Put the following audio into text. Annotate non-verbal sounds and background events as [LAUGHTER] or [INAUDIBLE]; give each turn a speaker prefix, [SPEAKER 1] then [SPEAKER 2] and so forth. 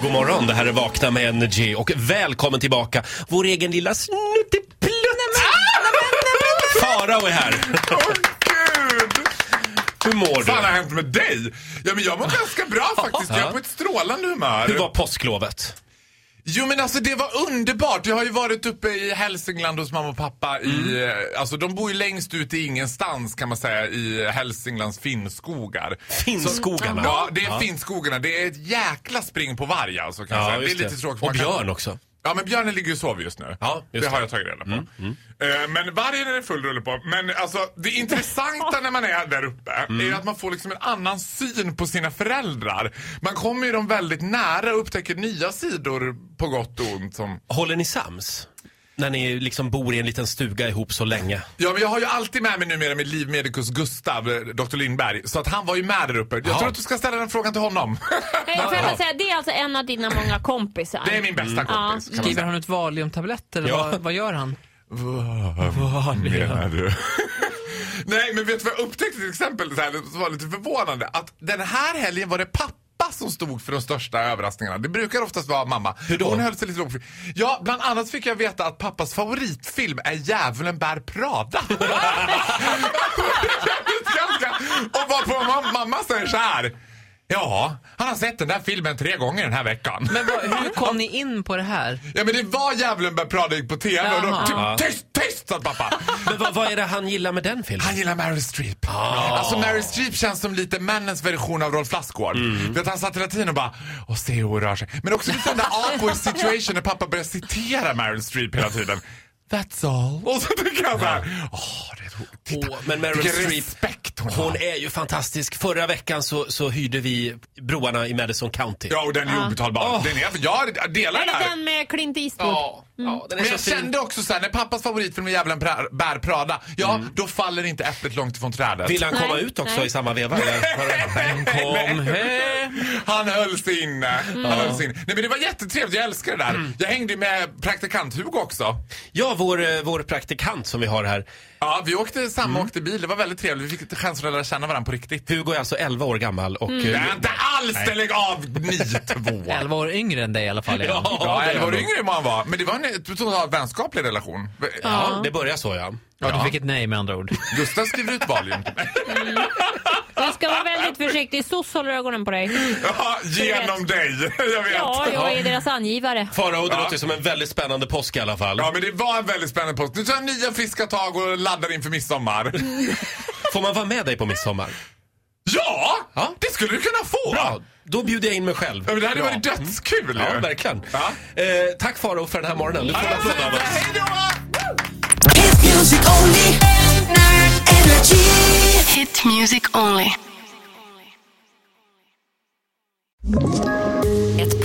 [SPEAKER 1] God morgon, det här är Vakna med Energy och välkommen tillbaka vår egen lilla snutteplutt! Farao är här.
[SPEAKER 2] Åh gud!
[SPEAKER 1] Hur mår du?
[SPEAKER 2] Vad har hänt med dig? Ja, men jag mår ganska bra faktiskt. Jag är på ett strålande humör.
[SPEAKER 1] Hur var påsklovet?
[SPEAKER 2] Jo men alltså det var underbart. Jag har ju varit uppe i Hälsingland hos mamma och pappa.
[SPEAKER 1] Mm.
[SPEAKER 2] I, eh, alltså de bor ju längst ut i ingenstans kan man säga i Hälsinglands finnskogar.
[SPEAKER 1] Finnskogarna?
[SPEAKER 2] Ja, det är finnskogarna. Det är ett jäkla spring på varg alltså kan jag
[SPEAKER 1] Ja,
[SPEAKER 2] säga. Det är
[SPEAKER 1] just
[SPEAKER 2] lite tråkigt.
[SPEAKER 1] Och
[SPEAKER 2] Man kan-
[SPEAKER 1] björn också.
[SPEAKER 2] Ja, men björnen ligger ju och sover just nu.
[SPEAKER 1] Ja, just
[SPEAKER 2] det har
[SPEAKER 1] det.
[SPEAKER 2] jag tagit reda på. Eh, Men vargen är det full rulle på. Men alltså, det intressanta när man är där uppe är ju att man får liksom en annan syn på sina föräldrar. Man kommer ju dem väldigt nära och upptäcker nya sidor på gott och ont. Som...
[SPEAKER 1] Håller ni sams? När ni liksom bor i en liten stuga ihop så länge.
[SPEAKER 2] Ja, men jag har ju alltid med mig numera min livmedikus Gustav, eh, Dr. Lindberg. Så att han var ju med där uppe. Jag
[SPEAKER 1] Ja.
[SPEAKER 2] tror att du ska ställa den frågan till [LAUGHS] honom.
[SPEAKER 3] Hej, får jag bara säga, det är alltså en av dina många kompisar.
[SPEAKER 2] det är min bästa kompis.
[SPEAKER 3] Ja.
[SPEAKER 2] Kan man
[SPEAKER 4] Skriver
[SPEAKER 2] säga.
[SPEAKER 4] han ut valiumtabletter eller
[SPEAKER 1] Ja.
[SPEAKER 4] vad, vad gör han?
[SPEAKER 2] Vad menar du? [LAUGHS] Nej, men vet du vad jag upptäckte till exempel så här, som var lite förvånande? Att den här helgen var det pappa som stod för de största överraskningarna. Det brukar oftast vara mamma.
[SPEAKER 1] Hur då?
[SPEAKER 2] Hon höll sig lite lågt. Ja, bland annat fick jag veta att pappas favoritfilm är Djävulen bär Prada. [LAUGHS] Ganska- Och vad på mamma, mamma säger så här. Ja, han har sett den där filmen tre gånger den här veckan.
[SPEAKER 4] Men vad, hur kom ni in på det här?
[SPEAKER 2] Ja men det var Djävulen bär Prada gick på TV och då
[SPEAKER 4] Jaha.
[SPEAKER 2] typ, tyst, tyst sa pappa.
[SPEAKER 1] Men vad, vad är det han gillar med den filmen?
[SPEAKER 2] Han gillar Meryl Streep.
[SPEAKER 1] Ah.
[SPEAKER 2] Alltså Meryl Streep känns som lite männens version av Rolf Lassgård.
[SPEAKER 1] Mm.
[SPEAKER 2] Du vet, han satt hela tiden och bara och se hur hon rör sig. Men också lite den där awkward situation när pappa börjar citera Meryl Streep hela tiden. That's all. Och så tycker jag såhär, åh, det är roligt. Titta,
[SPEAKER 1] Åh, men Meryl
[SPEAKER 2] vilken
[SPEAKER 1] Streep,
[SPEAKER 2] respekt hon,
[SPEAKER 1] Hon
[SPEAKER 2] har.
[SPEAKER 1] är ju fantastisk. Förra veckan så, så hyrde vi broarna i Madison County.
[SPEAKER 2] Ja, och den
[SPEAKER 1] Ah.
[SPEAKER 2] är obetalbar. Den är, jag delar
[SPEAKER 3] Är
[SPEAKER 2] den
[SPEAKER 3] det
[SPEAKER 2] här.
[SPEAKER 3] den med Clint Eastwood?
[SPEAKER 2] Ja.
[SPEAKER 1] Ja, den är
[SPEAKER 2] Men
[SPEAKER 1] så
[SPEAKER 2] jag
[SPEAKER 1] fin.
[SPEAKER 2] kände också såhär, när pappas favoritfilm är Djävulen pra- bär Prada, ja,
[SPEAKER 1] Mm.
[SPEAKER 2] då faller inte äpplet långt ifrån trädet.
[SPEAKER 1] Vill han
[SPEAKER 3] Nej,
[SPEAKER 1] komma ut också
[SPEAKER 3] nej.
[SPEAKER 1] i samma veva? eller?
[SPEAKER 2] [LAUGHS] Nej.
[SPEAKER 1] Kom hem.
[SPEAKER 2] Han höll sig inne. Han höll sig inne. Nej, men det var jättetrevligt, jag älskar det där. Jag hängde ju med praktikant-Hugo också.
[SPEAKER 1] Ja, vår, eh, vår praktikant som vi har här.
[SPEAKER 2] Ja, vi åkte samma åkte bil, det var väldigt trevligt. Vi fick chansen att lära känna varandra på riktigt.
[SPEAKER 1] Hugo är alltså 11 år gammal och... eh,
[SPEAKER 2] Det är inte alls det, lägg av ni två!
[SPEAKER 4] 11 år yngre än dig i alla fall. Elin.
[SPEAKER 1] Ja.
[SPEAKER 2] Ja,
[SPEAKER 1] det är
[SPEAKER 2] eller var
[SPEAKER 1] han.
[SPEAKER 2] yngre än vad han var. Men det var en totalt vänskaplig relation.
[SPEAKER 1] Ja, det börjar så ja.
[SPEAKER 4] ja, du fick ett nej med andra ord.
[SPEAKER 2] Gustav skriver ut valium till mig.
[SPEAKER 3] Jag ska vara väldigt försiktig. SOS håller ögonen på dig.
[SPEAKER 2] Ja, genom dig. Jag vet.
[SPEAKER 3] Ja, jag är deras angivare.
[SPEAKER 1] Farao, det
[SPEAKER 2] Ja.
[SPEAKER 1] låter som en väldigt spännande påsk i alla fall.
[SPEAKER 2] Ja, men det var en väldigt spännande post. Nu tar jag nya friska tag och laddar inför midsommar.
[SPEAKER 1] Får man vara med dig på midsommar?
[SPEAKER 2] Ja!
[SPEAKER 1] Ja.
[SPEAKER 2] Det skulle du kunna få!
[SPEAKER 1] Bra! Då bjuder jag in mig själv.
[SPEAKER 2] Ja, men det hade
[SPEAKER 1] Bra.
[SPEAKER 2] varit dötskul
[SPEAKER 1] Ja,
[SPEAKER 2] ju.
[SPEAKER 1] verkligen.
[SPEAKER 2] Ja.
[SPEAKER 1] Eh, tack Farao för den här morgonen. Du får en applåd av oss.
[SPEAKER 2] Hej då!
[SPEAKER 5] Hit music only. Energy.
[SPEAKER 6] Hit music only.
[SPEAKER 7] Ett